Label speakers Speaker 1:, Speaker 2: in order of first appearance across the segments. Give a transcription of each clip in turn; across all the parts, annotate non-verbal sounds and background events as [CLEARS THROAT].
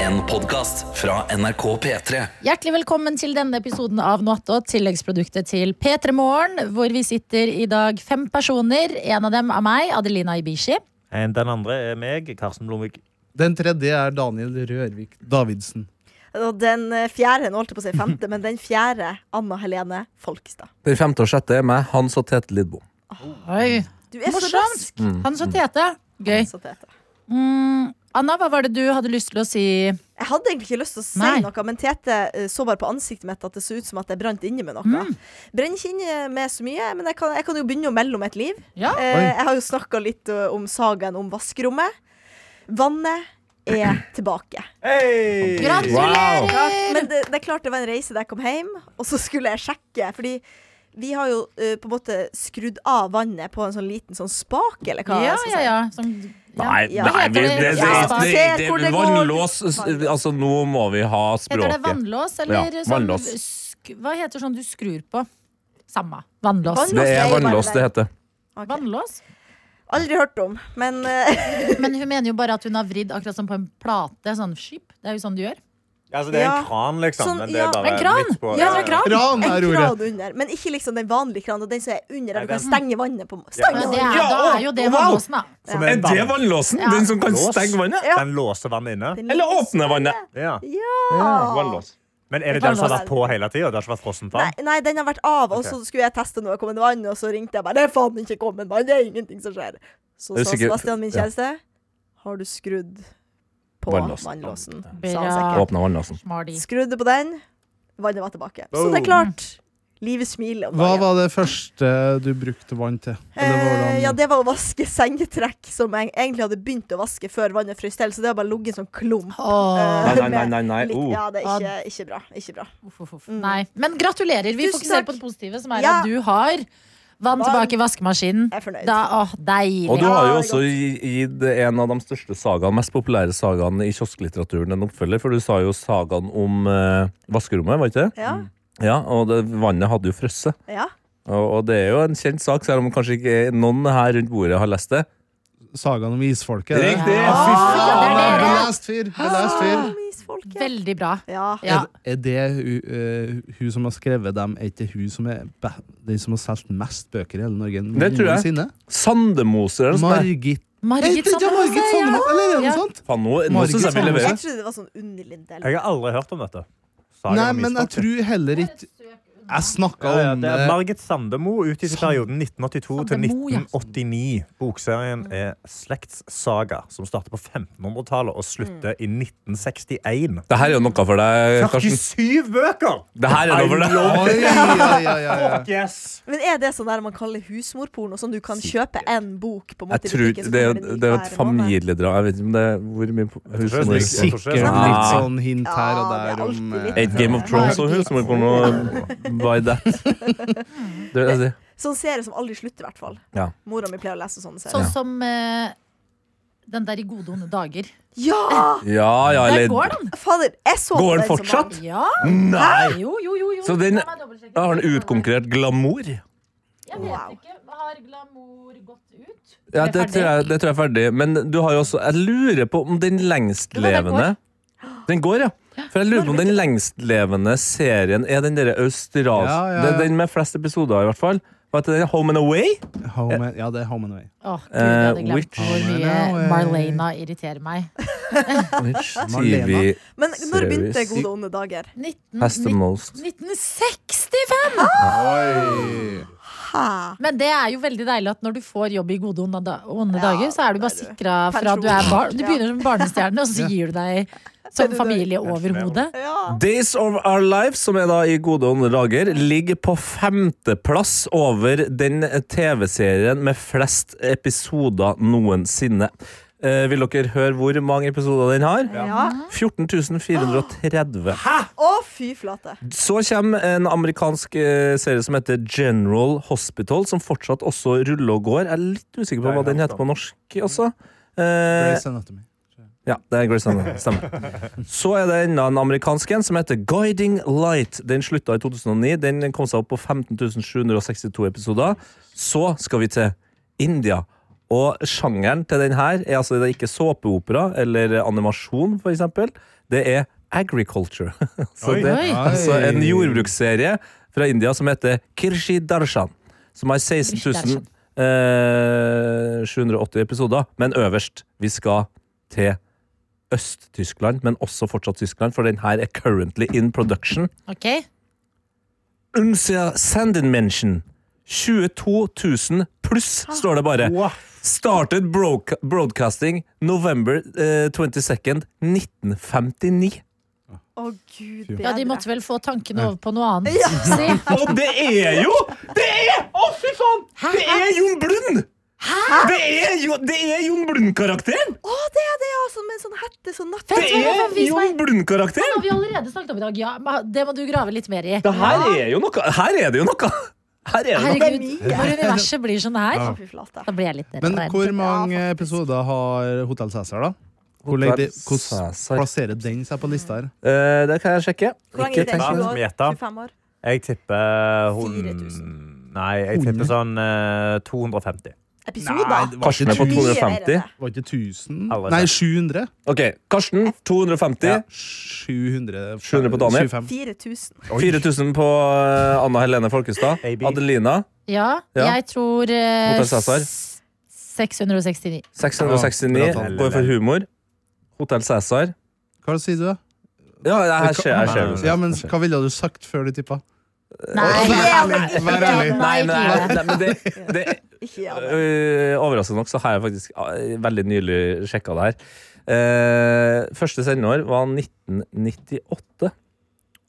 Speaker 1: En podcast fra NRK P3
Speaker 2: Hjertelig velkommen til denne episoden av Noatto, tilleggsproduktet til P3 Morgen, hvor vi sitter i dag fem personer. En av dem er meg, Adelina Ibishi.
Speaker 3: En- Den andre er meg, Karsten Blomvik.
Speaker 4: Den tredje er Daniel Rørvik Davidsen.
Speaker 5: Og den eh, fjerde, nå holdt jeg på å si femte, men den fjerde, Anna Helene Folkestad.
Speaker 6: Den femte og sjette er meg, Hans og Tete Lidbom.
Speaker 2: Oi,
Speaker 5: Du er så
Speaker 2: Morsomt.
Speaker 5: rask!
Speaker 2: Han så tete. Gøy.
Speaker 5: Så tete.
Speaker 2: Mm, Anna, hva var det du hadde lyst til å si?
Speaker 5: Jeg hadde egentlig ikke lyst til å si
Speaker 2: Nei.
Speaker 5: noe, men Tete eh, så bare på ansiktet mitt at det så ut som at jeg brant inne med noe.
Speaker 2: Mm.
Speaker 5: Brenner ikke inne med så mye, men jeg kan, jeg kan jo begynne å melde om et liv.
Speaker 2: Ja.
Speaker 5: Eh, jeg har jo snakka litt eh, om sagaen om vaskerommet. Vannet er tilbake.
Speaker 2: Eh, Gratulerer!
Speaker 5: Men det, det er klart det var en reise da jeg kom hjem, og så skulle jeg sjekke. Fordi vi har jo eh, på en måte skrudd av vannet på en sånn liten sånn spak, eller hva
Speaker 2: Ja,
Speaker 5: jeg skal
Speaker 2: ja,
Speaker 5: si.
Speaker 2: ja. Som, ja.
Speaker 6: Nei,
Speaker 5: Ja.
Speaker 6: nei
Speaker 2: Heter
Speaker 6: vi, det,
Speaker 2: det-
Speaker 6: det, det,
Speaker 5: Ja.
Speaker 6: det,
Speaker 5: Se hvor det går.
Speaker 6: Vannlås s- Altså, nå må vi ha
Speaker 2: Heter
Speaker 6: språket.
Speaker 2: det vannlås, eller
Speaker 6: Ja,
Speaker 2: sånn
Speaker 6: vannlås.
Speaker 2: sk- Hva heter sånn du skrur på? Samme. Vannlås.
Speaker 5: Vann-
Speaker 6: Det er
Speaker 5: Vannlås,
Speaker 6: vannlås
Speaker 5: det
Speaker 6: det
Speaker 5: er
Speaker 6: heter.
Speaker 5: Ok.
Speaker 2: Vannlås?
Speaker 5: Aldri hørt om, men eh,
Speaker 2: Men hun mener jo bare at hun har vridd akkurat som på en plate. Sånn skip. Det er jo sånn du gjør.
Speaker 3: Altså, det er en
Speaker 5: Ja.
Speaker 3: kran, liksom.
Speaker 5: Sånn,
Speaker 3: men det er
Speaker 5: ja.
Speaker 3: bare
Speaker 2: En kran!
Speaker 3: midt på-
Speaker 2: Ja, det er en kran.
Speaker 4: Ran
Speaker 5: [LAUGHS] en
Speaker 4: er ordet.
Speaker 5: grad under. Men ikke liksom den vanlige kranen, den som er under, der du
Speaker 3: Nei, den-
Speaker 5: kan stenge vannet på. Stenge
Speaker 2: Men det
Speaker 5: vannet!
Speaker 2: er, da er jo det vannlåsen, da.
Speaker 3: Som
Speaker 5: Ja.
Speaker 3: en dam.
Speaker 6: vannlåsen?
Speaker 2: Ja. Den
Speaker 6: som
Speaker 3: kan stenge
Speaker 6: vannet?
Speaker 5: Ja.
Speaker 3: Den låser vannet inne.
Speaker 5: Den-
Speaker 6: Eller åpne vannet?
Speaker 3: Ja.
Speaker 5: Ja!
Speaker 3: Men er det den som har
Speaker 5: Vannlås.
Speaker 3: vært på hele tida? Det har ikke vært frossent vann?
Speaker 5: Nei, nei, den har vært av, og
Speaker 3: Ok.
Speaker 5: så skulle jeg teste noe kommende vann, og så ringte jeg bare 'Det er faen ikke kommet vann, det er ingenting som skjer'. Så
Speaker 6: Er du
Speaker 5: sa
Speaker 6: sikker?
Speaker 5: Sebastian, min
Speaker 6: Ja.
Speaker 5: kjæreste, har du skrudd på
Speaker 6: Vannlåsen.
Speaker 5: vannlåsen? Sa han
Speaker 2: Bra.
Speaker 5: sikkert.
Speaker 6: Åpne Oh. vannlåsen.
Speaker 2: Smarty.
Speaker 5: Skrudde på den, vannet var tilbake. Så det er klart. Livet smiler om
Speaker 4: Hva
Speaker 5: dagen.
Speaker 4: var det første du brukte vann til? Eller
Speaker 5: Eh,
Speaker 4: hvordan-
Speaker 5: ja, det var å vaske sengetrekk som jeg egentlig hadde begynt å vaske før vannet frøs til, så det har bare ligget en sånn klump. eh,
Speaker 2: Åh,
Speaker 6: Nei, nei, nei, nei, nei.
Speaker 5: Litt,
Speaker 6: Oh.
Speaker 5: ja, det er ikke, ikke bra. Ikke bra.
Speaker 2: Eh, uff, uff, uff. Nei. Men gratulerer. Vi
Speaker 5: Tusen
Speaker 2: fokuserer
Speaker 5: takk.
Speaker 2: på det positive, som er
Speaker 5: Ja.
Speaker 2: at du har vann tilbake i vaskemaskinen.
Speaker 5: Jeg er fornøyd.
Speaker 2: Da, åh, deilig.
Speaker 6: Og du har jo
Speaker 5: Ja, det er
Speaker 6: også gi- gitt en av de største sagaene, mest populære sagaene i kiosklitteraturen, en oppfølger, for du sa jo sagaen om eh, vaskerommet, var ikke det?
Speaker 5: Ja,
Speaker 6: Ja, og det, vannet hadde jo frosset.
Speaker 5: ja.
Speaker 6: Og, og det er jo en kjent sak, selv om kanskje ikke noen her rundt bordet har lest det.
Speaker 4: Sagaen om isfolket? det?
Speaker 6: Riktig!
Speaker 2: Ja.
Speaker 6: Fy
Speaker 2: Ja, det er
Speaker 4: Ah,
Speaker 2: dere.
Speaker 4: Belast fyr! Belast fyr.
Speaker 5: Misfolket.
Speaker 2: Veldig bra.
Speaker 5: Ja.
Speaker 2: Ja.
Speaker 4: Er, er det hu- eh, hun som har skrevet dem, er ikke hun som er be- den som har solgt mest bøker i hele Norge?
Speaker 6: Det tror jeg.
Speaker 4: noensinne?
Speaker 6: Sandemoser eller noe sånt.
Speaker 4: Margit Er
Speaker 2: Margit sånn
Speaker 4: ikke det Margit
Speaker 2: Sandemoser.
Speaker 4: Sandemo? Eller er det
Speaker 2: Ja.
Speaker 4: noe sånt?
Speaker 6: Faen, nå, nå
Speaker 4: Margit
Speaker 6: synes jeg vi
Speaker 4: Sandemoser.
Speaker 6: leverer.
Speaker 5: Jeg trodde det var sånn Unni Lindell.
Speaker 3: Jeg har aldri hørt om dette. Saga
Speaker 4: Nei,
Speaker 3: om
Speaker 4: men jeg
Speaker 3: isfolket.
Speaker 4: tror heller ikke Jeg snakka
Speaker 3: ja, ja,
Speaker 4: om
Speaker 3: det er
Speaker 4: eh,
Speaker 3: Margit Sandemo utgitt i
Speaker 4: Sand-
Speaker 3: perioden 1982 til
Speaker 2: Sandemo, ja.
Speaker 3: 1989. Bokserien er slektssaga, som starter på 1500-tallet og slutter i 1961.
Speaker 6: Det her er jo noe for deg, Karsten.
Speaker 3: 47 bøker!
Speaker 6: Det her er noe for deg.
Speaker 4: Oi, ja, ja, ja,
Speaker 3: [LAUGHS]
Speaker 4: ja.
Speaker 3: Yes.
Speaker 5: Men er det sånn der man kaller husmorporno? Sånn du kan kjøpe en bok på en måte
Speaker 6: Jeg tror, det, er jo- det er jo et familiedrag. Jeg vet ikke om det er hvor Ah. mye
Speaker 3: tror det er
Speaker 6: husmor-
Speaker 3: sikkert.
Speaker 4: Sikkert litt
Speaker 6: Ja.
Speaker 4: sånn hint her og
Speaker 5: Ja, det er
Speaker 4: der om
Speaker 5: alltid
Speaker 4: eh,
Speaker 5: litt-
Speaker 6: Et Game of Thrones og husmorporno by that. Det vil jeg si.
Speaker 5: Sånn serie som aldri slutter, i hvert fall.
Speaker 6: Ja.
Speaker 5: Mora mi pleier å lese sånne serier.
Speaker 2: Sånn som eh, den der i gode onde dager.
Speaker 5: Ja!
Speaker 6: Ja, ja,
Speaker 2: Der
Speaker 6: eller
Speaker 2: går den!
Speaker 5: Fader, jeg så
Speaker 6: Går den
Speaker 5: som
Speaker 6: fortsatt?
Speaker 5: barn.
Speaker 2: Ja.
Speaker 6: Nei!
Speaker 2: Jo, jo, jo. jo.
Speaker 6: Så den-
Speaker 2: La meg dobbeltsjekke.
Speaker 6: Da har den utkonkurrert glamour.
Speaker 2: Jeg vet
Speaker 5: Wow.
Speaker 2: ikke. Har glamour gått ut?
Speaker 6: Ja,
Speaker 2: Er
Speaker 6: det tror jeg, det tror jeg er ferdig. Men du har jo også Jeg lurer på om den lengstlevende Den går, ja. For jeg lurer på om den lengstlevende serien er den derre australske
Speaker 4: Ja, ja, ja.
Speaker 6: Det er den med flest episoder, i hvert fall. Hva heter den? Home and Away?
Speaker 4: Home and, Ja, det er Home and Away.
Speaker 2: Åh, Gud, jeg hadde
Speaker 6: Eh,
Speaker 2: glemt
Speaker 6: which-
Speaker 2: hvor mye
Speaker 4: Marlena-
Speaker 2: Marlena eh. irriterer meg.
Speaker 6: TV
Speaker 5: Men når begynte
Speaker 6: series.
Speaker 5: Gode onde dager?
Speaker 2: 19,
Speaker 6: Has the most.
Speaker 2: 1965!
Speaker 5: Hæ?
Speaker 2: Men det er jo veldig deilig at når du får jobb i gode onde, da- onde
Speaker 5: Ja,
Speaker 2: dager, så er du bare
Speaker 5: det er du.
Speaker 2: sikra fra at du er
Speaker 5: Pensjon.
Speaker 2: barn. Du begynner som barnestjerne, og så
Speaker 4: Ja.
Speaker 2: gir du deg som
Speaker 5: du
Speaker 2: familie over hodet.
Speaker 5: Ja.
Speaker 6: Days of Our Lives, som er da i gode ånd dager, ligger på femteplass over den TV-serien med flest episoder noensinne. Eh, vil dere høre hvor mange episoder den har?
Speaker 5: ja.
Speaker 6: 14.430
Speaker 5: Å, fy flate.
Speaker 6: Så kommer en amerikansk eh, serie som heter General Hospital, som fortsatt også ruller og går. Jeg er litt usikker på hva den heter på norsk også. Eh,
Speaker 4: Grey's Anatomy.
Speaker 6: ja, det er Grey's Anatomy. Stemmer. Så er det enda en amerikansk en som heter Guiding Light. Den slutta i 2009. Den kom seg opp på 15.762 episoder. Så skal vi til India Og sjangeren til den her er altså det er ikke såpeopera eller animasjon, for eksempel. Det er agriculture. [LAUGHS] Så
Speaker 3: Oi.
Speaker 6: det er
Speaker 2: Oi.
Speaker 6: altså en jordbruksserie fra India som heter Kirshi Darshan. Som har 16 000, eh, 780 episoder. Men øverst, vi skal til Øst-Tyskland, men også fortsatt Tyskland, for den her er currently in production.
Speaker 2: Ok,
Speaker 6: Unsia Sandenmenschen. 22 000 pluss, står det bare. Started broadca- broadcasting November eh, 22nd 1959.
Speaker 5: Å, gud bedre.
Speaker 2: ja, De måtte vel få tankene over på noe annet. Si.
Speaker 6: Og det er jo Det er Å, fy faen! Det er Jon Blund! Det er, jo, det er Jon Blund-karakteren!
Speaker 5: Å, det er det, ja! Sånn med en sånn hette, sånn natt...
Speaker 6: Det
Speaker 2: hva,
Speaker 6: er
Speaker 2: vis
Speaker 6: Jon
Speaker 2: meg.
Speaker 6: Blund-karakteren!
Speaker 2: har vi allerede snakket om i dag. Ja, men det må du grave litt mer i.
Speaker 6: Det her er jo noe. Her er det jo noe. Her er det noe.
Speaker 2: Herregud, når universet blir sånn her,
Speaker 5: Fy flate.
Speaker 2: da blir jeg litt
Speaker 4: Men
Speaker 2: redd.
Speaker 4: hvor mange
Speaker 5: Ja, faktisk.
Speaker 4: episoder har Hotell Cæsar, da? Hvor legger de, hvordan plasserer den seg på lista her?
Speaker 6: Eh, det kan jeg sjekke.
Speaker 5: Hvor lang er
Speaker 6: Ikke
Speaker 5: den?
Speaker 6: tenk-
Speaker 5: 20
Speaker 3: Skal vi
Speaker 5: år?
Speaker 3: gjette?
Speaker 5: 25 år?
Speaker 3: Jeg tipper hun
Speaker 5: 4000.
Speaker 3: Nei, jeg tipper sånn eh, 250.
Speaker 5: Episoder?
Speaker 6: Karsten er på
Speaker 5: Mye mer
Speaker 6: 250.
Speaker 5: enn det.
Speaker 4: Var ikke 1000?
Speaker 3: Alle
Speaker 4: Nei,
Speaker 3: sett.
Speaker 4: 700.
Speaker 6: Ok, Karsten 250.
Speaker 4: 700,
Speaker 6: 700 på Daniel.
Speaker 4: 25.
Speaker 5: 4000.
Speaker 6: 4000 på eh, Anna Helene Folkestad.
Speaker 3: Baby.
Speaker 6: Adelina
Speaker 2: Ja,
Speaker 6: Ja.
Speaker 2: jeg tror eh,
Speaker 6: Hotell Cæsar.
Speaker 2: s- 669.
Speaker 6: 669.
Speaker 4: Ja,
Speaker 3: bra.
Speaker 6: Går for humor. Hotell Cæsar.
Speaker 4: Hva sier du, da?
Speaker 6: Ja, jeg- her skjer her skjer det.
Speaker 4: Ja, men Hva ville du sagt før du tippa?
Speaker 2: Nei,
Speaker 5: Vær ærlig,
Speaker 4: vær ærlig.
Speaker 6: Nei, men,
Speaker 2: ikke gjør det.
Speaker 6: nei, men det, det
Speaker 5: Ikke ja, men.
Speaker 6: øh, Overraskende nok så har jeg faktisk øh, veldig nylig sjekka det her. Eh, første sendeår var 1998.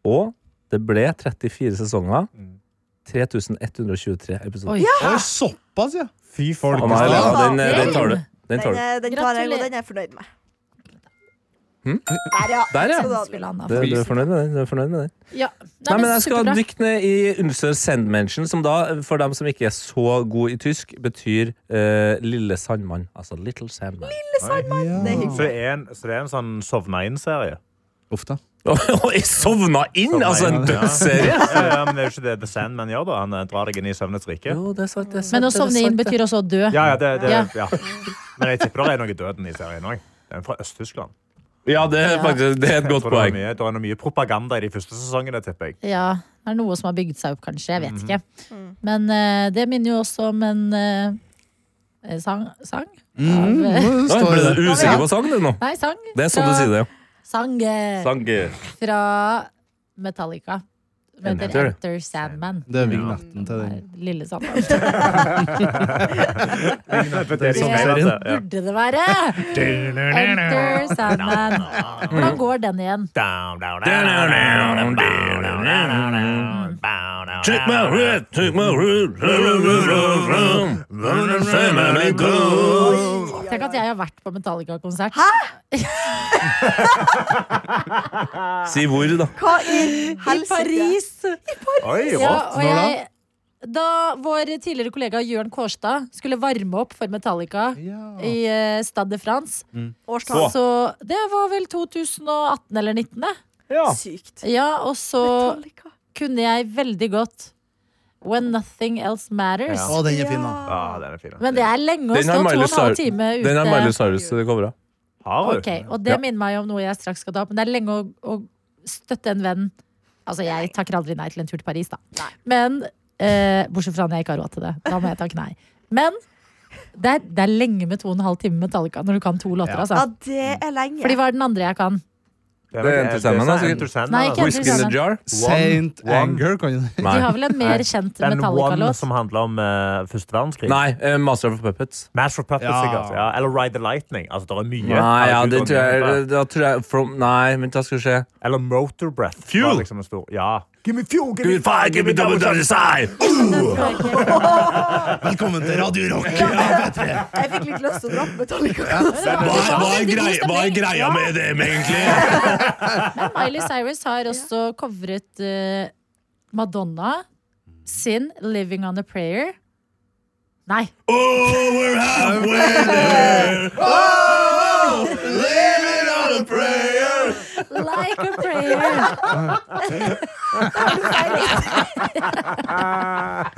Speaker 6: Og det ble 34 sesonger. 3123 episoder.
Speaker 2: Oi.
Speaker 4: Oi, såpass,
Speaker 5: [LAUGHS]
Speaker 4: ja!
Speaker 3: Fy altså.
Speaker 6: Anna Helena, den, eh, den tar du. Den tar
Speaker 5: Den,
Speaker 6: du.
Speaker 5: eh, den tar jeg,
Speaker 2: Gratulerer.
Speaker 5: og den er jeg fornøyd med.
Speaker 6: Hm?
Speaker 5: Der, ja.
Speaker 6: Der, ja.
Speaker 5: Så da-
Speaker 2: Spill Anna.
Speaker 6: Det, du er fornøyd med den? Du er fornøyd med den?
Speaker 2: Ja.
Speaker 6: Nei, men jeg skal
Speaker 2: superbra.
Speaker 6: dykke ned i Ulster Sandmention, som da, for dem som ikke er så god i tysk, betyr eh, Lille Sandmann. Altså Little Sandman.
Speaker 5: Det er
Speaker 3: Så det er en, så det er en sånn sovna inn-serie?
Speaker 4: Uff da.
Speaker 6: Og jeg sovna inn! Altså en dødsserie!
Speaker 3: Ja, Eh, ja, men det er jo ikke det The Sandman gjør, da. Han eh, drar deg inn i søvnets rike.
Speaker 6: Jo, det er sant, det er sant,
Speaker 2: Men å
Speaker 6: det er
Speaker 2: sovne inn
Speaker 6: sant, det.
Speaker 2: betyr også å dø.
Speaker 3: Ja, ja, det, det,
Speaker 2: Ja.
Speaker 3: ja. Men jeg tipper det er noe i døden i serien òg. Den er fra Øst-Tyskland.
Speaker 6: Ja, det er faktisk det er et
Speaker 3: Jeg
Speaker 6: godt
Speaker 3: tror Det er
Speaker 6: poeng.
Speaker 3: mye, det er noe mye propaganda i de første sesongene, tipper jeg.
Speaker 2: Ja, det er noe som har bygd seg opp, kanskje. Jeg
Speaker 6: Mhm.
Speaker 2: vet ikke.
Speaker 5: Mm.
Speaker 2: Men eh, det minner jo også om en eh, sang, sang? Av, eh,
Speaker 6: Nå ble du usikker på sang, du nå.
Speaker 2: nei, sang.
Speaker 6: Mhm. Det er sånn du
Speaker 2: fra-
Speaker 6: sier det, ja.
Speaker 2: Sang eh,
Speaker 6: Sang.
Speaker 2: fra Metallica. Som
Speaker 6: En
Speaker 2: heter
Speaker 6: heter det.
Speaker 2: Enter Sandman.
Speaker 4: Det er vignetten til den.
Speaker 2: Nei, Lille
Speaker 6: [LAUGHS]
Speaker 2: Sandman.
Speaker 3: Det er liksom
Speaker 2: Det
Speaker 3: det, ja.
Speaker 2: burde det være! Enter
Speaker 6: [LAUGHS]
Speaker 2: Sandman. Hvordan går den igjen?
Speaker 6: Take my red, take my red, family goes.
Speaker 2: Tenk at jeg har vært på Metallica-konsert.
Speaker 6: Si hvor, da.
Speaker 5: Hva i
Speaker 2: I
Speaker 5: helsike?
Speaker 2: Paris!
Speaker 3: Oi,
Speaker 2: Ja,
Speaker 3: rått.
Speaker 2: og jeg, da vår tidligere kollega Jørn Kårstad skulle varme opp for Metallica
Speaker 4: Ja.
Speaker 2: i eh, Stade de France,
Speaker 5: Årstall.
Speaker 2: så det var vel 2018 eller 2019, det.
Speaker 5: Sykt.
Speaker 2: Ja, og så
Speaker 5: Metallica.
Speaker 2: kunne jeg veldig godt When Nothing Else Matters.
Speaker 3: Ja.
Speaker 4: Å, den er fin, da.
Speaker 3: Ja, den er fin. da.
Speaker 2: Men det er lenge å
Speaker 6: Den
Speaker 2: stå
Speaker 6: har
Speaker 2: to og
Speaker 6: Miley
Speaker 2: en halv
Speaker 6: Cyrus-
Speaker 2: time ute.
Speaker 6: den har Miley Cyrus covra.
Speaker 3: Har du?
Speaker 2: Ok, og det
Speaker 6: Ja.
Speaker 2: minner meg om noe jeg straks skal ta opp. Men det er lenge å, å støtte en venn. Altså, jeg takker aldri nei til en tur til Paris, da. Men eh, Bortsett fra når jeg ikke har råd til det. Da må jeg takke nei. Men det er, det er lenge med to og en halv time Metallica når du kan to låter,
Speaker 4: Ja.
Speaker 5: Ja,
Speaker 2: altså.
Speaker 5: det er lenge.
Speaker 2: Fordi hva er den andre jeg kan?
Speaker 3: Det
Speaker 6: Det er en altså. til sammen, da,
Speaker 3: så-
Speaker 6: sikkert.
Speaker 3: en til sammen,
Speaker 2: Nei,
Speaker 3: da.
Speaker 2: ikke en til
Speaker 6: Whisky in the
Speaker 2: sammen.
Speaker 6: jar?
Speaker 4: Saint
Speaker 3: One.
Speaker 4: Anger, kan du
Speaker 2: De
Speaker 6: Nei.
Speaker 2: har vel en mer kjent
Speaker 3: Den One
Speaker 2: Metallica-låt?
Speaker 3: som handler om eh, første verdenskrig.
Speaker 6: Nei eh, Master of Puppets.
Speaker 3: Master of Puppets,
Speaker 4: Ja.
Speaker 3: sikkert. Ja, eller Ride the Lightning. Altså, det er mye.
Speaker 6: Nei, ja,
Speaker 3: Herregud,
Speaker 6: det
Speaker 3: og
Speaker 6: tror
Speaker 3: mye
Speaker 6: jeg,
Speaker 3: bra.
Speaker 6: da tror jeg from, Nei, men da skal vi se.
Speaker 3: Eller Motor Breath. var
Speaker 6: Fuel.
Speaker 3: Liksom en stor. Ja. Give me fuel, give, me
Speaker 6: fire, give me double double side!
Speaker 4: [LAUGHS]
Speaker 6: [LAUGHS]
Speaker 4: Velkommen til Radio Rock!
Speaker 5: Jeg fikk litt lyst til å droppe Metallica.
Speaker 6: med dem, egentlig?
Speaker 2: Miley Cyrus har også covret eh, Madonna sin 'Living On A Prayer'. Nei.
Speaker 6: Oh, we're halfway there. Oh, leave it on a prayer.
Speaker 2: Like a prayer.
Speaker 3: Ah.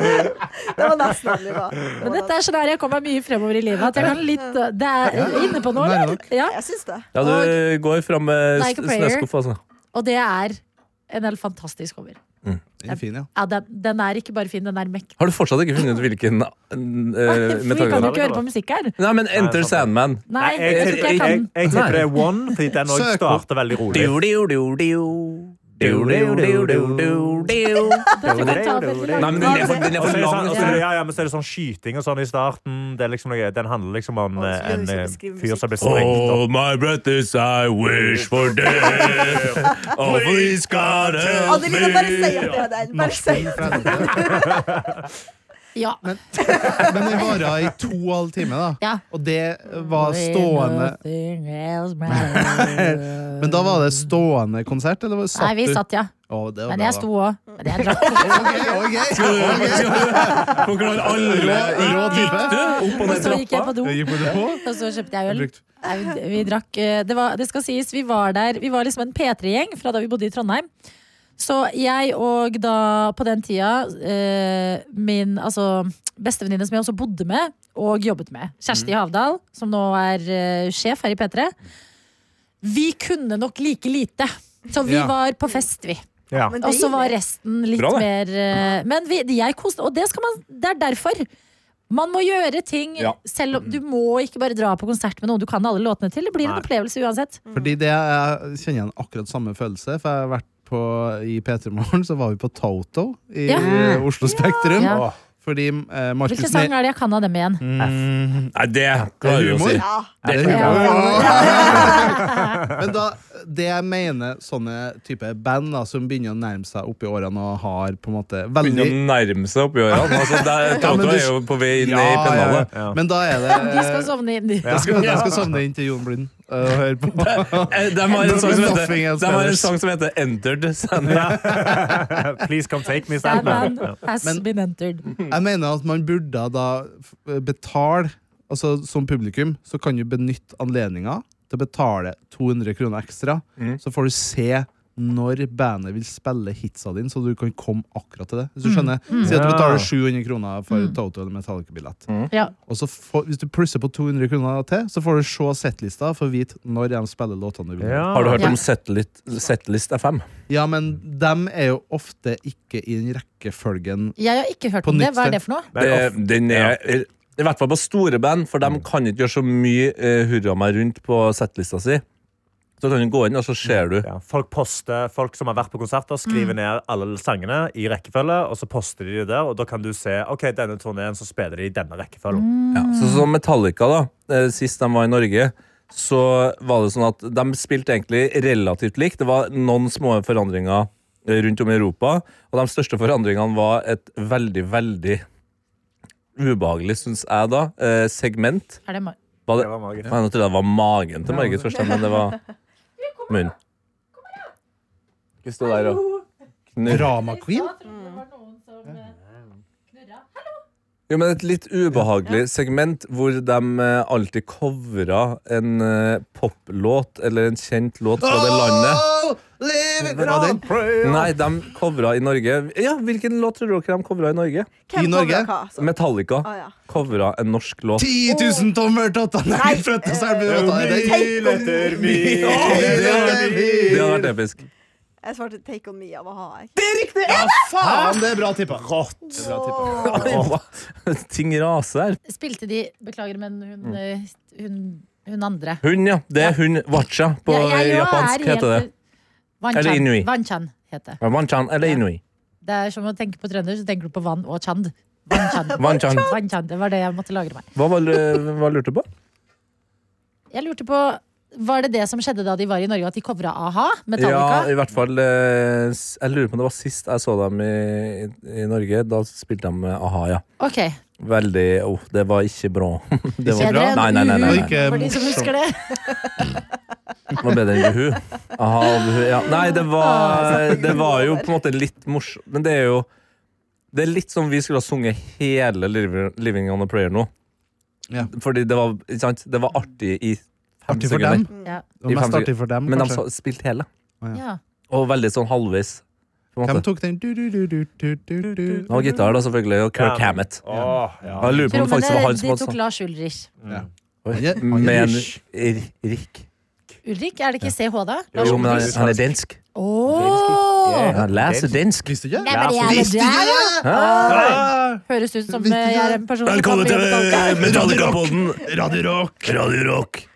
Speaker 5: Det var nesten det det var. Det var
Speaker 2: Men
Speaker 5: nesten.
Speaker 2: dette er scenarioet jeg kommer meg mye fremover i livet. At jeg kan litt Det er inne på noe,
Speaker 4: Nei,
Speaker 2: eller? Ja.
Speaker 5: Jeg syns det.
Speaker 6: Ja, du går fram med
Speaker 2: Like a prayer.
Speaker 6: snøskuff, altså.
Speaker 2: Og det er en helt fantastisk cover.
Speaker 4: [LAUGHS] Den er fin, ja.
Speaker 2: Ja, den, den er ikke bare fin, den er mektig.
Speaker 6: Har du fortsatt ikke funnet ut hvilken uh,
Speaker 2: Vi kan jo
Speaker 6: metallgruppe?
Speaker 2: ikke høre på musikk her.
Speaker 6: Nei, men Enter
Speaker 3: sant det.
Speaker 6: Sandman.
Speaker 2: Nei,
Speaker 3: jeg,
Speaker 2: jeg tror
Speaker 3: jeg,
Speaker 2: ikke jeg
Speaker 3: jeg,
Speaker 2: kan.
Speaker 3: jeg tipper det er One, fordi den også
Speaker 4: Søk opp.
Speaker 3: starter veldig rolig.
Speaker 6: Nei,
Speaker 2: Dette kan ta veldig lang
Speaker 6: men
Speaker 2: tid.
Speaker 6: den er for, den er for
Speaker 3: Og så er det
Speaker 6: lang.
Speaker 3: sånn, og så
Speaker 6: Altså.
Speaker 3: er det- ja, ja, men så er det sånn skyting og sånn i starten. Det er liksom noe, den handler liksom om
Speaker 5: Og så
Speaker 3: eh,
Speaker 5: skal
Speaker 3: en
Speaker 5: vi
Speaker 3: eh,
Speaker 5: skrive
Speaker 3: fyr
Speaker 5: musikk.
Speaker 3: som blir sprengt opp.
Speaker 6: All Oh, my breath is I wish for
Speaker 2: [LAUGHS]
Speaker 6: death. Oh, please God
Speaker 4: Eh,
Speaker 6: help
Speaker 5: Adelina, bare si
Speaker 6: [LAUGHS] me.
Speaker 5: at det er den. Bare si.
Speaker 2: Ja.
Speaker 4: Men den varer i to og en halv time, da.
Speaker 2: Ja.
Speaker 4: Og det var stående
Speaker 2: Nothing else matters.
Speaker 4: Men da var det stående konsert, eller var det satt
Speaker 2: Nei, vi
Speaker 4: du?
Speaker 2: satt, ja.
Speaker 4: Å, det var
Speaker 2: Men
Speaker 4: bra,
Speaker 2: jeg
Speaker 4: da.
Speaker 2: sto òg. Men jeg drakk
Speaker 4: Ok, ok.
Speaker 6: Forklar alle
Speaker 4: Rå type.
Speaker 6: Du, opp og
Speaker 2: Og
Speaker 6: ned
Speaker 2: så gikk jeg
Speaker 6: trappa.
Speaker 2: på do,
Speaker 4: Jeg gikk på det på.
Speaker 2: og så kjøpte jeg øl.
Speaker 4: Brukt.
Speaker 2: Nei, vi, vi drakk eh, det, var, det skal sies, vi var der Vi var liksom en P3-gjeng fra da vi bodde i Trondheim. Så jeg og da, på den tida, eh, min altså, bestevenninne som jeg også bodde med og jobbet med, Kjersti Havdal, som nå er eh, sjef her i P3, vi kunne nok like lite. Så vi
Speaker 4: Ja.
Speaker 2: var på fest, vi.
Speaker 3: Ja.
Speaker 5: Men det
Speaker 2: Og så
Speaker 5: gir
Speaker 2: var
Speaker 5: meg.
Speaker 2: resten litt
Speaker 6: Bra, det.
Speaker 2: mer eh, Men vi, jeg koste Og det, skal man, det er derfor. Man må gjøre ting
Speaker 6: Ja.
Speaker 2: selv om Du må ikke bare dra på konsert med noen du kan alle låtene til. Det blir
Speaker 3: Nei.
Speaker 2: en opplevelse uansett.
Speaker 4: Fordi det jeg kjenner igjen akkurat samme følelse. For jeg har vært på, i P3 Morgen, så var vi på Toto i
Speaker 2: Ja.
Speaker 4: eh, Oslo Spektrum.
Speaker 2: Ja.
Speaker 3: Åh,
Speaker 4: Fordi eh, Markus
Speaker 2: Hvilken sang
Speaker 4: Ne-
Speaker 2: er det jeg kan av dem igjen?
Speaker 6: Mm. Nei, det klarer vi å si.
Speaker 5: Ja.
Speaker 4: Det er
Speaker 2: Ja.
Speaker 4: humor. [LAUGHS] Men da, det jeg mener sånne type band da, som begynner å nærme seg opp i årene og har på en måte
Speaker 6: Begynner
Speaker 4: veldig
Speaker 6: å nærme seg oppi årene. Altså, der-
Speaker 4: Ja, men
Speaker 6: Toto
Speaker 4: du-
Speaker 6: er jo på vei inn
Speaker 4: Ja,
Speaker 6: i
Speaker 4: ja, ja.
Speaker 6: pennalet.
Speaker 3: Ja.
Speaker 4: Men da er det
Speaker 2: De skal sovne inn.
Speaker 4: jeg skal, jeg skal sovne inn til Jon Blind eh, og høre på.
Speaker 6: Eh, De har en sang som heter,
Speaker 4: Nothing else
Speaker 6: de har en
Speaker 4: matters.
Speaker 6: sang som heter Entered Sandman.
Speaker 3: Please come take me,
Speaker 2: That man
Speaker 3: Sandman. Ja.
Speaker 2: has
Speaker 4: Men-
Speaker 2: been entered.
Speaker 4: Jeg mener at man burde da f- eh, betale Altså Som publikum så kan du benytte anledninga til å betale 200 kroner ekstra. Så får du se når bandet vil spille hitsa dine, så du kan komme akkurat til det. Hvis du skjønner Si at du
Speaker 3: Ja.
Speaker 4: betaler 700 kroner for Toto eller Metallica-billett.
Speaker 2: [LAUGHS] Ja.
Speaker 4: Og så får, Hvis du plusser på 200 kroner til, så får du se settlista for å vite når de spiller låtene du vil.
Speaker 3: Ja.
Speaker 6: Har du hørt
Speaker 2: Ja.
Speaker 6: om Setlist, setlist FM?
Speaker 4: Ja, men dem er jo ofte ikke i den rekkefølgen
Speaker 2: Jeg har ikke hørt
Speaker 4: På
Speaker 2: om det.
Speaker 4: nytt
Speaker 2: Hva
Speaker 4: sted.
Speaker 2: er det for noe?
Speaker 3: Nei,
Speaker 6: Det,
Speaker 3: off-
Speaker 6: den er I hvert fall på store band, for de kan ikke gjøre så mye eh, hurra meg rundt på settlista si. Så kan du gå inn, og så ser du.
Speaker 3: ja. Folk poster, folk som har vært på konserter, skriver
Speaker 2: Mm.
Speaker 3: ned alle sangene i rekkefølge, og så poster de det der, og da kan du se ok, denne turneen så spiller de i denne
Speaker 2: Mm.
Speaker 3: rekkefølgen.
Speaker 6: Ja. Så som Metallica, da, eh, sist de var i Norge, så var det sånn at de spilte egentlig relativt likt. Det var noen små forandringer eh, rundt om i Europa, og de største forandringene var et veldig, veldig ubehagelig, syns jeg, da, eh, segment.
Speaker 2: Er det ma-
Speaker 6: Var
Speaker 3: Det
Speaker 6: det,
Speaker 3: var magisk.
Speaker 6: Nei, nå trodde jeg det var magen til Margit først, men det [LAUGHS] var munnen. Ikke stå der og knurre.
Speaker 4: Drama Queen.
Speaker 2: eh,
Speaker 6: Jo, men et litt ubehagelig segment hvor de eh, alltid covra en eh, poplåt eller en kjent låt fra det landet.
Speaker 4: Oh, Var den?
Speaker 6: Nei, de covra i Norge. Ja, Hvilken låt tror dere de covra i Norge?
Speaker 5: Hvem
Speaker 4: I Norge?
Speaker 5: kommer hva, altså?
Speaker 6: Metallica
Speaker 5: Ah, ja.
Speaker 6: covra en norsk låt.
Speaker 4: 10 000 tommer tatt av
Speaker 5: Nei,
Speaker 4: Nei, flytta seg med åtta i den.
Speaker 3: Mil
Speaker 6: [LAUGHS]
Speaker 3: etter mil etter
Speaker 6: Det
Speaker 3: mil.
Speaker 6: hadde vært episk.
Speaker 5: Jeg svarte 'Take On Me' av a-ha. jeg.
Speaker 4: Faen, det er bra tippa. Det er bra tippa.
Speaker 6: Ting raser her.
Speaker 2: Spilte de Beklager, men hun,
Speaker 6: Mm.
Speaker 2: eh, hun, hun andre
Speaker 6: Hund, ja. Det er hund wacha på
Speaker 2: Ja, jeg jo er
Speaker 6: japansk,
Speaker 2: helt-
Speaker 6: heter det.
Speaker 2: Wanchan.
Speaker 6: Eller inui.
Speaker 2: Wanchan heter det.
Speaker 6: Ja, Wanchan eller Inui.
Speaker 2: Det er som å tenke på trønder, så tenker du på vann og chand.
Speaker 6: [LAUGHS]
Speaker 2: Vanchan.
Speaker 6: Wanchan.
Speaker 2: Wanchan. Det var det jeg måtte lagre meg.
Speaker 6: Hva, var, hva lurte du på?
Speaker 2: Jeg lurte på, Var det det som skjedde da de var i Norge, at de covra a-ha?
Speaker 6: Ja,
Speaker 2: Metallica?
Speaker 6: i hvert fall eh, s- Jeg lurer på om det var sist jeg så dem i, i, i Norge. Da spilte de eh, a-ha, ja.
Speaker 2: Ok.
Speaker 6: Veldig oh, Det var ikke bra. [LAUGHS] Det var,
Speaker 2: Bedre enn
Speaker 6: Nei, nei, nei, nei,
Speaker 4: Og
Speaker 6: nei.
Speaker 4: ikke
Speaker 2: For de som
Speaker 4: morsomt.
Speaker 2: husker det.
Speaker 6: Det var bedre enn Juhu. A-ha og Juhu. Ja. Nei, det
Speaker 4: Ah.
Speaker 6: var, det var jo på en måte litt morsomt. Men det er jo Det er litt som vi skulle ha sunget hele Liv- 'Living on a Prayer' nå.
Speaker 4: Ja.
Speaker 6: Fordi det var, ikke sant? Det var artig i fem
Speaker 4: Artig for
Speaker 6: sekunder.
Speaker 4: dem.
Speaker 2: Ja.
Speaker 5: Mm,
Speaker 4: Det var mest artig for dem,
Speaker 6: Men de
Speaker 4: kanskje.
Speaker 6: sa- spilte hele.
Speaker 2: ja.
Speaker 6: Og veldig sånn halvveis. på en
Speaker 4: Hvem
Speaker 6: måte.
Speaker 4: tok den? Du, du, du, du, du, du, du.
Speaker 6: Det var gitar, da, selvfølgelig. Og Kirk Hammett.
Speaker 3: Åh, ja.
Speaker 6: Jeg lurer på om det faktisk var
Speaker 2: Rommene
Speaker 6: han som
Speaker 2: de
Speaker 6: hadde
Speaker 2: tok
Speaker 6: sang.
Speaker 2: Lars Ulrich.
Speaker 4: Han er- han er
Speaker 6: Men
Speaker 4: rush.
Speaker 6: R- Rick
Speaker 2: Ulrik, er det ikke CH, da? Lars
Speaker 6: Jo, men han,
Speaker 2: Ulrich.
Speaker 6: han er dansk.
Speaker 2: Åh!
Speaker 6: Han leser dansk.
Speaker 4: Visste ikke?
Speaker 2: Nei, men
Speaker 3: Ja,
Speaker 2: jeg er
Speaker 4: Visste
Speaker 2: der, da!
Speaker 4: ikke!
Speaker 2: Høres ut som
Speaker 4: Visste
Speaker 2: eh, jeg er en person som kan bli
Speaker 6: eh,
Speaker 2: betalt.
Speaker 6: Metallica-podden.
Speaker 4: Radio Rock.
Speaker 6: Radio Rock.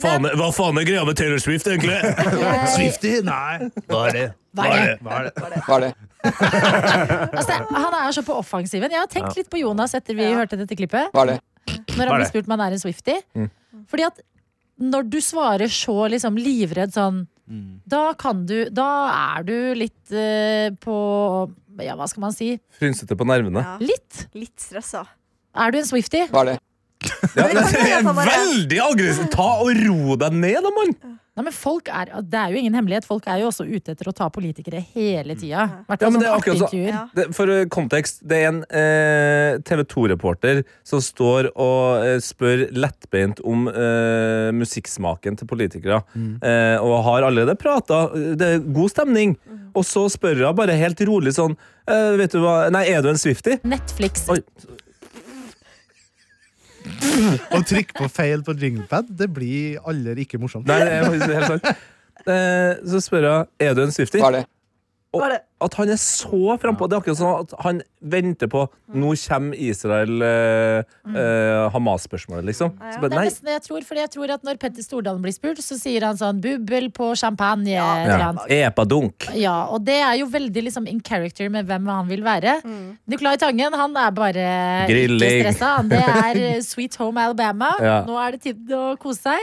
Speaker 6: hva faen er greia med Taylor Swift, egentlig?
Speaker 2: Jeg-
Speaker 4: Swifty? Nei. Hva er det?
Speaker 2: Hva er eh. det?
Speaker 4: Hva er det?
Speaker 2: Altså, han er så på offensiven. Jeg har tenkt litt på Jonas etter vi hørte dette klippet. Når han
Speaker 3: Hva er
Speaker 2: blir
Speaker 3: det?
Speaker 2: spurt om han er en Swifty.
Speaker 6: Mm.
Speaker 2: Fordi at når du svarer så liksom livredd sånn,
Speaker 6: Mm.
Speaker 2: da kan du Da er du litt eh, på Ja, hva skal man si?
Speaker 6: Frynsete på nervene.
Speaker 5: Ja.
Speaker 2: Litt.
Speaker 5: Litt stressa.
Speaker 2: Er du en Swifty?
Speaker 6: Ja,
Speaker 5: Men det kan jo
Speaker 6: det er
Speaker 5: være at han bare-
Speaker 6: veldig aggressivt! Ta og ro deg ned, da, mann!
Speaker 2: Nei, men folk er, Det er jo ingen hemmelighet. Folk er jo også ute etter å ta politikere hele tida.
Speaker 6: Mm. Ja, men det er akkurat så-
Speaker 2: intervjuer.
Speaker 5: Ja.
Speaker 6: Det, for eh, kontekst, det er en eh, TV 2-reporter som står og eh, spør lettbeint om eh, musikksmaken til politikere. Eh, og har allerede prata. Det er god stemning.
Speaker 2: Mm.
Speaker 6: Og så spør hun bare helt rolig sånn eh, Vet du hva Nei, er du en Swifty?
Speaker 2: Netflix.
Speaker 6: Oi.
Speaker 4: Å trykke på feil på jinglepad, det blir aldri ikke morsomt.
Speaker 6: Nei, det er faktisk helt
Speaker 2: [LAUGHS]
Speaker 6: sant. Eh, så spør hun Er du en Swifty. Og
Speaker 5: Var det?
Speaker 6: at han er så frampå. Det er akkurat sånn at han venter på
Speaker 2: Mm.
Speaker 6: Nå kommer Israel-Hamas-spørsmålet, liksom. Så
Speaker 2: Det
Speaker 6: bare,
Speaker 2: er
Speaker 6: nei,
Speaker 2: nesten det jeg tror, fordi jeg tror at når Petter Stordalen blir spurt, så sier han sånn 'bubbel på champagne'. eller
Speaker 6: ja.
Speaker 2: annet.
Speaker 6: Epadunk.
Speaker 2: Ja, og det er jo veldig liksom in character med hvem han vil være. Nicolai Tangen han er bare
Speaker 6: Grilling.
Speaker 2: ikke stressa. han. Det
Speaker 6: [LAUGHS]
Speaker 2: er eh, Sweet Home Alabama.
Speaker 6: Ja.
Speaker 2: Nå er det tid å kose seg.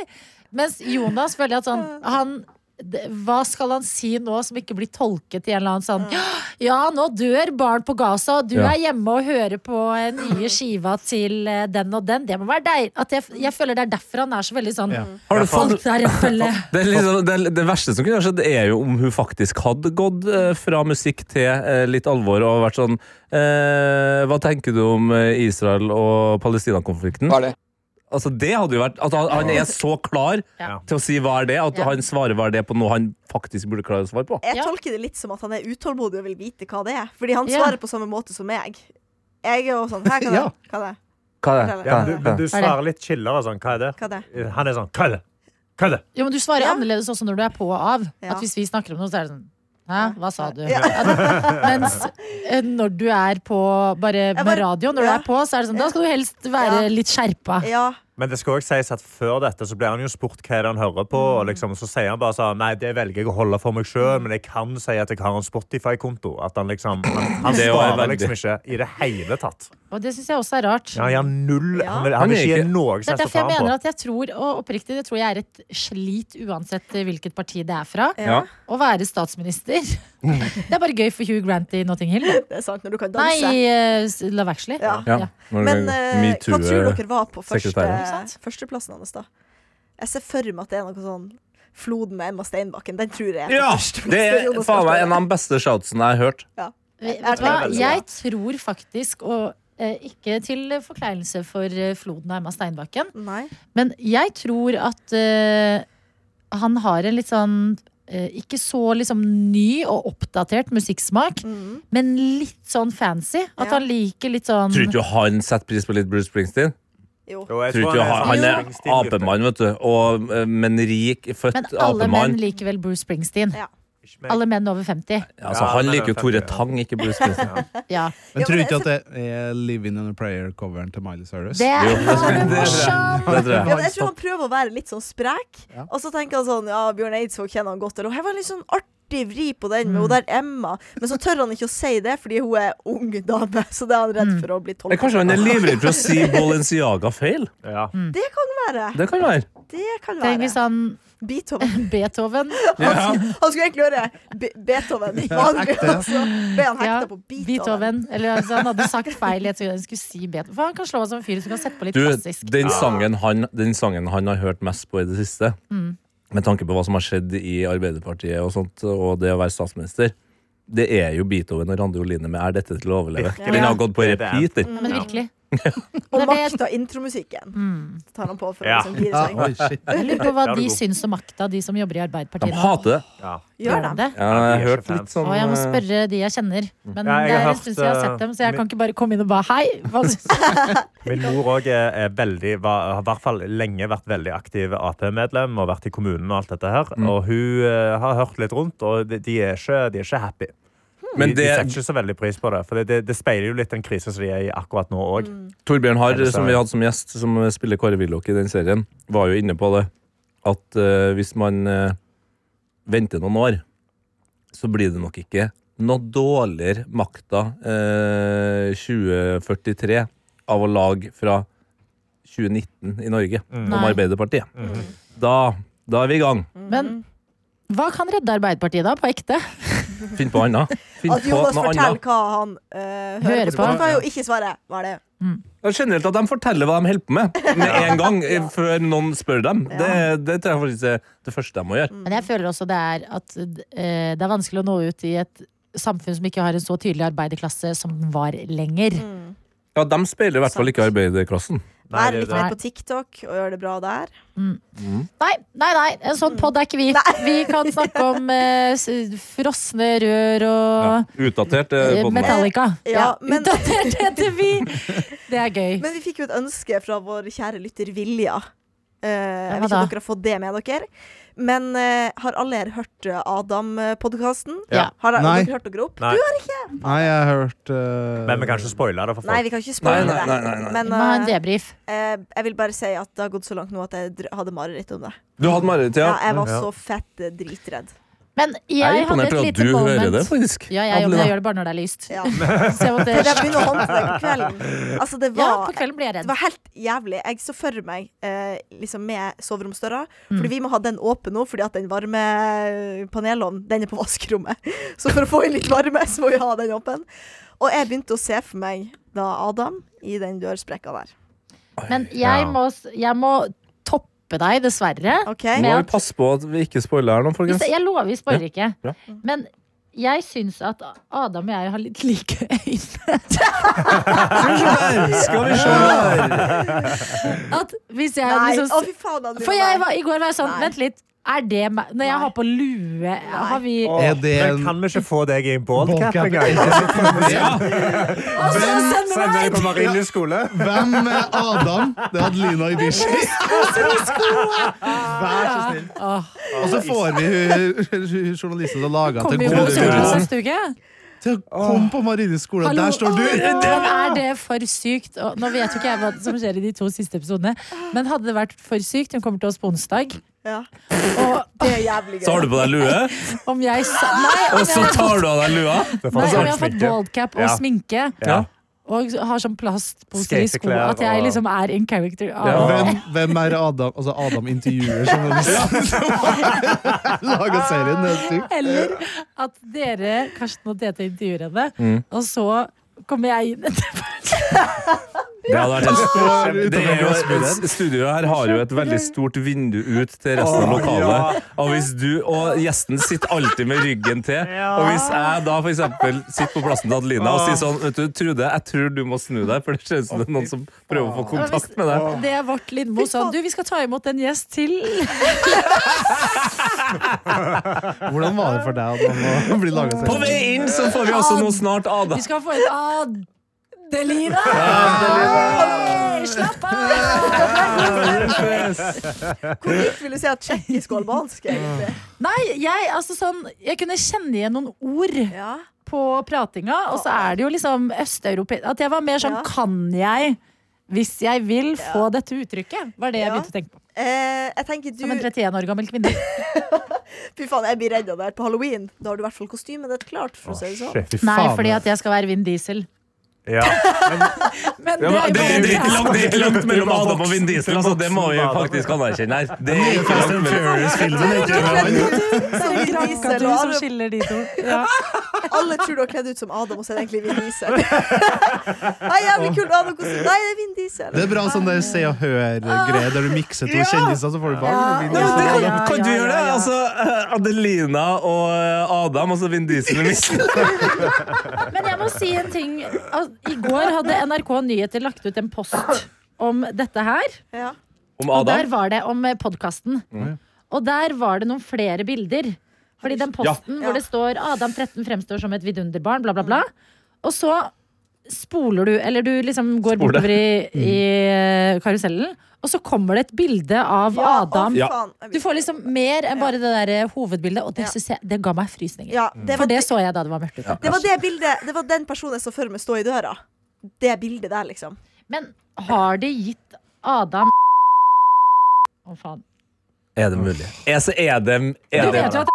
Speaker 2: Mens Jonas føler jeg at sånn han d- hva skal han si nå som ikke blir tolket i en eller annen sånn [GASPS] Ja, nå dør barn på Gaza, og du
Speaker 6: Ja.
Speaker 2: er hjemme og hører på eh, nye skiva til eh, den og den. Det må være deg. At jeg, jeg føler det er derfor han er så veldig sånn
Speaker 4: Ja.
Speaker 6: Har du fått
Speaker 2: Folk der, jeg følger.
Speaker 6: det, er liksom, det, er- det verste som kunne skjedd, er jo om hun faktisk hadde gått eh, fra musikk til eh, litt alvor og vært sånn eh, Hva tenker du om eh, Israel og Palestina-konflikten? Altså, det hadde jo vært At han, han er så klar
Speaker 2: Ja.
Speaker 6: til å si hva er det, at
Speaker 2: Ja.
Speaker 6: han svarer hva er det på noe han faktisk burde klare å svare på.
Speaker 5: Jeg
Speaker 2: Ja.
Speaker 5: tolker det litt som at han er utålmodig og vil vite hva det er. Fordi han
Speaker 2: Ja.
Speaker 5: svarer på samme måte som meg. Jeg er jo sånn Her kan
Speaker 4: Ja.
Speaker 5: jeg. Hva det?
Speaker 6: Hva
Speaker 5: er det?
Speaker 3: Ja, men du, men du
Speaker 2: Hva er det?
Speaker 3: svarer litt chillere sånn. Hva er det?
Speaker 5: Hva det?
Speaker 3: Han er sånn. Hva er det? Hva er det?
Speaker 2: Jo, men du svarer
Speaker 5: Ja.
Speaker 2: annerledes også når du er på og av.
Speaker 5: Ja.
Speaker 2: At hvis vi snakker om noe, så er det sånn Hæ, hva sa du?
Speaker 5: Ja.
Speaker 2: At, mens eh, når du er på bare med
Speaker 5: bare-
Speaker 2: radio, når
Speaker 5: ja.
Speaker 2: du er på, så er det sånn Da skal du helst være
Speaker 5: Ja.
Speaker 2: litt skjerpa.
Speaker 5: Ja.
Speaker 3: Men det skal også sies at før dette så ble han jo spurt hva er det han hører på.
Speaker 2: Mm.
Speaker 3: Og liksom, så sier han bare sånn Nei, det velger jeg å holde for meg sjøl, men jeg kan si at jeg har en Spotify-konto. At han liksom Han,
Speaker 2: [CLEARS THROAT]
Speaker 3: han
Speaker 6: Det er jo
Speaker 3: svarer
Speaker 6: veldig-
Speaker 3: liksom ikke i det hele tatt.
Speaker 2: Og det syns jeg også er rart.
Speaker 3: Ja, han har null
Speaker 5: Ja.
Speaker 3: Han vil,
Speaker 6: Han
Speaker 3: han vil
Speaker 6: er
Speaker 3: ikke
Speaker 6: ikke-
Speaker 3: gi noe
Speaker 2: Det
Speaker 3: som
Speaker 2: er
Speaker 3: helst å
Speaker 2: derfor jeg
Speaker 3: ta
Speaker 2: mener
Speaker 3: ham på.
Speaker 2: at jeg tror, og oppriktig, det tror jeg er et slit uansett eh, hvilket parti det er fra,
Speaker 5: ja.
Speaker 6: Ja.
Speaker 2: å være statsminister.
Speaker 3: Mm.
Speaker 2: [LAUGHS] Det er bare gøy for Hugh Grant i Notting Hill.
Speaker 5: Det er sant, når du kan
Speaker 2: Nei,
Speaker 5: danse.
Speaker 2: eh, Love Actually.
Speaker 5: Ja.
Speaker 6: Ja.
Speaker 5: Men eh, hva tror dere var på første,
Speaker 6: sekretæren.
Speaker 5: førsteplassen hans, da? Jeg ser for meg at det er noe sånn Floden med Emma Steinbakken. Den tror jeg er på
Speaker 6: Ja!
Speaker 5: førsteplass.
Speaker 6: Det er
Speaker 5: Jonas
Speaker 6: faen meg
Speaker 5: Gahr Støre.
Speaker 6: en av de beste shoutsen jeg har hørt.
Speaker 2: Vet du hva?
Speaker 5: Jeg tror det er veldig
Speaker 2: Jeg tror faktisk, og eh, ikke til forkleinelse for eh, floden av Emma Steinbakken,
Speaker 5: Nei.
Speaker 2: men jeg tror at eh, han har en litt sånn eh, ikke så liksom ny og oppdatert musikksmak, men litt sånn fancy. At
Speaker 5: Mm. Ja.
Speaker 2: han liker litt sånn
Speaker 6: Tror ikke
Speaker 5: Mhm.
Speaker 6: du han setter pris på litt Bruce Springsteen?
Speaker 5: Jo.
Speaker 3: Jo, jeg
Speaker 6: Tror
Speaker 3: tror
Speaker 6: ikke han, han
Speaker 3: sånn
Speaker 6: er
Speaker 3: Springsteen-gutt.
Speaker 6: apemann, vet du. Og, eh, men rik,
Speaker 2: Men
Speaker 6: født
Speaker 2: alle menn
Speaker 6: apemann.
Speaker 2: liker vel Bruce Springsteen.
Speaker 5: Ja.
Speaker 3: Ikke meg.
Speaker 2: Alle menn over 50.
Speaker 6: Altså,
Speaker 3: Ja,
Speaker 6: han
Speaker 3: men
Speaker 6: liker jo
Speaker 3: det er
Speaker 6: Tore
Speaker 3: fett, ja.
Speaker 6: Tang, ikke Bruce
Speaker 2: [LAUGHS]
Speaker 6: Springsteen.
Speaker 2: Ja.
Speaker 4: Men
Speaker 5: Ja,
Speaker 4: tror
Speaker 5: men
Speaker 4: ikke at det er Living on a Prayer-coveren til Miley Cyrus?
Speaker 2: Det er
Speaker 6: det tror jeg.
Speaker 2: morsomt!
Speaker 6: Det tror jeg.
Speaker 5: Ja, men jeg tror han prøver å være litt sånn sprek.
Speaker 4: Ja.
Speaker 5: Og så tenker han sånn Ja, Bjørn Eidsvåg kjenner han godt. Eller her var en litt sånn artig vri på den
Speaker 6: Mm.
Speaker 5: med hun der Emma. Men så tør han ikke å si det, fordi hun er ung dame. Så det er han redd for å bli
Speaker 6: Mm. Men
Speaker 5: tolket.
Speaker 6: kanskje han er livredd for å si Balenciaga feil?
Speaker 3: Ja.
Speaker 2: Mm.
Speaker 5: Det kan være.
Speaker 6: Det kan være.
Speaker 5: Det kan
Speaker 2: Tenk
Speaker 5: være.
Speaker 2: hvis han
Speaker 5: Beethoven.
Speaker 2: Beethoven
Speaker 5: Han skulle egentlig høre Be
Speaker 6: [LAUGHS]
Speaker 5: Beethoven. Vanlig,
Speaker 4: Ekte.
Speaker 5: og så ble han
Speaker 2: Ja,
Speaker 5: hekta på Beethoven.
Speaker 2: Beethoven. Eller altså, han hadde sagt feil. i et sekund. Han skulle si Beethoven. For han kan slå meg som en fyr som kan sette på litt
Speaker 6: Du,
Speaker 2: klassisk.
Speaker 6: den sangen, han, den sangen han har hørt mest på i det siste,
Speaker 2: Mm.
Speaker 6: med tanke på hva som har skjedd i Arbeiderpartiet og sånt, og det å være statsminister, det er jo Beethoven og Randi Oline med 'Er dette til å overleve'?
Speaker 3: Virkelig.
Speaker 6: Den har gått på
Speaker 3: Det er det.
Speaker 6: repeat, den.
Speaker 2: Men virkelig.
Speaker 5: Og
Speaker 2: Det er det jeg-
Speaker 5: makta intromusikken tar han på for å
Speaker 3: Ja.
Speaker 5: liksom gire
Speaker 4: Ja,
Speaker 5: seg.
Speaker 4: oi, shit.
Speaker 2: Jeg lurer på hva
Speaker 3: Der er du
Speaker 2: de
Speaker 3: god.
Speaker 2: syns om makta, de som jobber i Arbeiderpartiet
Speaker 6: De hater det.
Speaker 3: Ja.
Speaker 5: Gjør det.
Speaker 2: det?
Speaker 6: Ja, jeg
Speaker 3: Ja, de
Speaker 6: har
Speaker 3: er
Speaker 6: hørt
Speaker 3: ikke
Speaker 6: litt sånn
Speaker 2: Å, jeg må
Speaker 6: eh,
Speaker 2: spørre de jeg kjenner. Men det
Speaker 3: Ja, jeg har
Speaker 2: er en
Speaker 3: haft,
Speaker 2: stund siden jeg har sett
Speaker 3: eh,
Speaker 2: dem, så jeg
Speaker 3: min-
Speaker 2: kan ikke bare komme inn og bare Hei! Hva syns du?
Speaker 3: Min mor også er, er veldig, var, har i hvert fall lenge vært veldig aktiv Ap-medlem og vært i kommunen og alt dette her. Og hun eh, har hørt litt rundt, og de, de, er, ikke, de er ikke happy.
Speaker 6: Men
Speaker 3: de, de
Speaker 6: det-
Speaker 3: setter ikke så veldig pris på det, for det, det, det speiler jo litt den krisen som de er i akkurat nå òg.
Speaker 5: Mm.
Speaker 6: Torbjørn Harr,
Speaker 3: Eller så
Speaker 6: som
Speaker 3: er
Speaker 6: vi
Speaker 3: det-
Speaker 6: hadde som gjest, som spiller Kåre Willoch i den serien, var jo inne på det at eh, hvis man eh, venter noen år, så blir det nok ikke noe dårligere makta eh, 2043 av å lage fra 2019 i Norge om
Speaker 2: Nei.
Speaker 6: Arbeiderpartiet. Da, da er vi i gang.
Speaker 2: Men hva kan redde Arbeiderpartiet, da? På ekte?
Speaker 6: Finn på annet. Finn
Speaker 5: [LAUGHS] At Jonas
Speaker 6: på noe
Speaker 5: forteller
Speaker 6: annet.
Speaker 5: hva han eh, hører på.
Speaker 2: på.
Speaker 5: Han kan jo ikke svare. Hva er det?
Speaker 6: Ja, Generelt at de forteller hva de holder på med, med en gang, eh, før noen spør dem. Det, det tror jeg faktisk er det første de må gjøre.
Speaker 5: Mm.
Speaker 2: Men jeg føler også det er at eh, det er vanskelig å nå ut i et samfunn som ikke har en så tydelig arbeiderklasse som den var lenger.
Speaker 5: Mm.
Speaker 6: Ja, de speiler i hvert fall ikke arbeiderklassen.
Speaker 3: Nei,
Speaker 5: Vær
Speaker 3: det er
Speaker 5: litt
Speaker 3: det.
Speaker 5: mer på TikTok og gjør det bra der.
Speaker 2: Nei, nei, nei, en sånn pod er ikke vi. Vi kan snakke
Speaker 5: [LAUGHS]
Speaker 2: om eh, s- frosne rør og
Speaker 6: Utdatert
Speaker 2: eh,
Speaker 6: eh, bånd.
Speaker 2: Metallica.
Speaker 5: Ja,
Speaker 2: [LAUGHS]
Speaker 5: men-
Speaker 2: Utdatert heter vi! Det er gøy.
Speaker 5: [LAUGHS] Men vi fikk jo et ønske fra vår kjære lytter Vilja. Eh,
Speaker 2: hva
Speaker 5: jeg vet ikke
Speaker 2: da?
Speaker 5: om dere har fått det med dere. Men eh, har alle her hørt eh, Adam-podkasten?
Speaker 2: Ja.
Speaker 5: Har dere,
Speaker 4: Nei.
Speaker 5: dere hørt dere opp?
Speaker 3: Nei.
Speaker 5: Du har
Speaker 4: Nei, jeg har hørt eh,
Speaker 3: Men vi kan ikke spoile det for
Speaker 5: Nei,
Speaker 3: folk.
Speaker 5: vi kan ikke
Speaker 6: Nei,
Speaker 5: spørre
Speaker 6: nei,
Speaker 5: det.
Speaker 6: nei, nei, nei.
Speaker 2: Vi
Speaker 5: Men
Speaker 2: må ha en
Speaker 5: eh,
Speaker 2: debrief.
Speaker 5: eh, jeg vil bare si at det har gått så langt nå at jeg dr- hadde mareritt om det.
Speaker 6: Du hadde mareritt,
Speaker 5: Ja,
Speaker 6: ja.
Speaker 5: jeg var
Speaker 3: Ja.
Speaker 5: så fett eh, dritredd.
Speaker 2: Men jeg,
Speaker 6: Jeg er
Speaker 2: hadde
Speaker 6: imponert
Speaker 2: et
Speaker 6: over at
Speaker 2: lite
Speaker 6: du
Speaker 2: moment.
Speaker 6: hører det, faktisk.
Speaker 2: Ja, jeg, men
Speaker 6: Adelina.
Speaker 2: jeg gjør det bare når det er lyst. [LAUGHS]
Speaker 5: Ja.
Speaker 2: Så jeg måtte,
Speaker 5: For jeg begynner å håndte det på kvelden. Altså, det
Speaker 2: ja,
Speaker 5: var
Speaker 2: på kvelden blir jeg
Speaker 5: Det
Speaker 2: redd.
Speaker 5: var helt jævlig. Jeg så for meg eh, liksom med soveromsdøra.
Speaker 2: Mm.
Speaker 5: Fordi vi må ha den åpen nå, fordi at den varme eh, panelovnen den er på vaskerommet. [LAUGHS] Så for å få inn litt varme, så må vi ha den åpen. Og jeg begynte å se for meg da Adam i den dørsprekka der.
Speaker 2: Men jeg
Speaker 3: Ja.
Speaker 2: må, s- jeg må toppe deg, dessverre.
Speaker 5: OK?
Speaker 6: Nå må
Speaker 2: med
Speaker 6: vi passe på at vi ikke spoiler her nå,
Speaker 2: Hvis
Speaker 6: folkens.
Speaker 2: jeg, jeg lover, vi spoiler
Speaker 6: Ja.
Speaker 2: ikke. Men jeg syns at Adam og jeg har litt like øyne.
Speaker 6: Skal vi se her!
Speaker 2: At hvis jeg
Speaker 5: Nei,
Speaker 2: liksom
Speaker 5: å fy faen, Adrian.
Speaker 2: For jeg var, i går var jeg sånn,
Speaker 5: Nei.
Speaker 2: vent litt. Er det meg? Når jeg har på lue, har vi
Speaker 4: Er det en
Speaker 3: Men kan vi ikke få deg i en baldcap
Speaker 4: Baldcap. [LAUGHS]
Speaker 3: engang?
Speaker 2: Og så sender
Speaker 3: Send deg på Marienlyst skole.
Speaker 4: Hvem er Adam? Det er Adelina Ibishi.
Speaker 2: [LAUGHS]
Speaker 4: Vær så snill. Og så får vi hun- hun [LAUGHS] journalisten som laga til
Speaker 2: Kommer jo
Speaker 4: gode
Speaker 2: på skolen
Speaker 4: redaksjon
Speaker 2: neste uke.
Speaker 4: til å komme på Marienlyst skole. Der står du!
Speaker 2: Men er det for sykt? Og nå vet jo ikke jeg hva som skjer i de to siste episodene, men hadde det vært for sykt, hun kommer til oss på onsdag,
Speaker 5: Ja,
Speaker 2: og
Speaker 5: det er jævlig gøy.
Speaker 6: Så har du på deg lue,
Speaker 2: om jeg sa Nei, om
Speaker 6: og så
Speaker 2: jeg har
Speaker 6: tar
Speaker 2: fått,
Speaker 6: du av deg lua.
Speaker 2: nei, om jeg har fått baldcap og
Speaker 3: Ja.
Speaker 2: sminke
Speaker 3: Ja.
Speaker 2: og har sånn plastposer i sko,
Speaker 3: Skateklær
Speaker 2: at jeg
Speaker 3: og-
Speaker 2: liksom er in character
Speaker 6: Ja.
Speaker 2: av
Speaker 4: Hvem, hvem er Adam? Altså Adam intervjuer [LAUGHS] journalisten som laga serien. Det er sykt.
Speaker 2: Eller at dere, Karsten og Tete, intervjuer henne,
Speaker 4: Mm.
Speaker 2: og så kommer jeg inn etterpå.
Speaker 6: Det, hadde vært
Speaker 4: står
Speaker 6: en,
Speaker 4: utenfor
Speaker 6: det er jo,
Speaker 4: glassbuden.
Speaker 6: studioet her har jo et veldig stort vindu ut til resten av
Speaker 3: Åh,
Speaker 6: lokalet. Og hvis du og gjesten sitter alltid med ryggen til, og hvis jeg da for eksempel sitter på plassen til Adelina og sier sånn Vet du, Trude, jeg tror du må snu deg, for det ser ut som det er noen som prøver å få kontakt med deg.
Speaker 2: Det er vårt Lindmo sånn. Du, vi skal ta imot en gjest til.
Speaker 4: Hvordan var det for deg Adam, å bli laga
Speaker 6: På
Speaker 4: serien?
Speaker 6: vei inn så får vi også noe snart, Ada.
Speaker 2: Vi skal få inn Adelina! Hey, slapp av!
Speaker 5: Hvor likt vil du si at tsjekkisk og albansk, egentlig?
Speaker 2: Nei, jeg, altså sånn, jeg kunne kjenne igjen noen ord
Speaker 5: Ja.
Speaker 2: på pratinga, og så er det jo liksom østeuropeisk At jeg var mer sånn
Speaker 5: Ja.
Speaker 2: Kan jeg, hvis jeg vil, få dette uttrykket? Var det jeg
Speaker 5: Ja.
Speaker 2: begynte å tenke på.
Speaker 5: Eh, jeg tenker
Speaker 2: Som en
Speaker 5: du
Speaker 2: 31 år gammel kvinne.
Speaker 5: Fy faen, jeg blir redd av det her på halloween. Da har du i hvert fall kostymet ditt klart. For å si det sånn.
Speaker 3: Shit, fy
Speaker 2: Nei,
Speaker 3: faen.
Speaker 2: fordi at jeg skal være Vin Diesel.
Speaker 3: Ja.
Speaker 2: Men
Speaker 6: Ja,
Speaker 2: det
Speaker 6: men det, det, er
Speaker 2: er jo
Speaker 6: ikke langt, det er ikke langt mellom Adam og Vin Diesel, altså. Det må vi
Speaker 3: Voksen Adam.
Speaker 6: faktisk anerkjenne her. Det er ikke
Speaker 4: Fast
Speaker 6: langt
Speaker 4: and
Speaker 6: mellom
Speaker 4: Furious-filmen, ikke sant?
Speaker 5: Så
Speaker 2: bare
Speaker 5: Vin Diesel
Speaker 2: Granka du som
Speaker 5: og
Speaker 2: [LAUGHS]
Speaker 5: Adam-
Speaker 2: skiller de to. Ja.
Speaker 5: Alle tror du har kledd ut som Adam, og så er det egentlig Vin Diesel. Nei, jævlig kult Adam kostyme. Nei, det er Vin Diesel.
Speaker 4: Det er bra sånn der Se og Hør-greie, der du mikser to kjendiser, så får du barn. sånn
Speaker 6: Nei, men det kan,
Speaker 2: Ja,
Speaker 6: kan du
Speaker 2: ja,
Speaker 6: gjøre det?
Speaker 2: ja, ja.
Speaker 6: Altså, eh, Adelina og eh, Adam, altså Vin Diesel og Miss.
Speaker 2: Men jeg må si en ting. Al- I går hadde NRK Nyheter lagt ut en post om dette her.
Speaker 5: Ja.
Speaker 6: Om
Speaker 2: Og der
Speaker 6: Adam?
Speaker 2: var det om podkasten.
Speaker 6: Mm.
Speaker 2: Og der var det noen flere bilder. Fordi den posten
Speaker 5: Ja.
Speaker 2: hvor det står Adam 13 fremstår som et vidunderbarn, bla, bla, bla. Og så spoler du, eller du liksom går
Speaker 6: Spoler. Mm.
Speaker 2: bortover i, i eh, karusellen, og så kommer det et bilde av
Speaker 5: Ja, å,
Speaker 2: Adam.
Speaker 6: Ja.
Speaker 5: faen. Jeg
Speaker 2: Du får liksom mer enn bare det der eh, hovedbildet, og det,
Speaker 5: Ja.
Speaker 2: synes jeg, det ga meg frysninger.
Speaker 5: Ja, det
Speaker 2: For
Speaker 5: var
Speaker 2: det så jeg da det var mørkt ute.
Speaker 5: Det var det bildet, det var den personen jeg så for meg stå i døra. Det bildet der, liksom.
Speaker 2: Men har de gitt Adam Å, faen.
Speaker 6: Er det mulig? Er, så er det,
Speaker 2: Du
Speaker 6: er det,
Speaker 2: vet jo at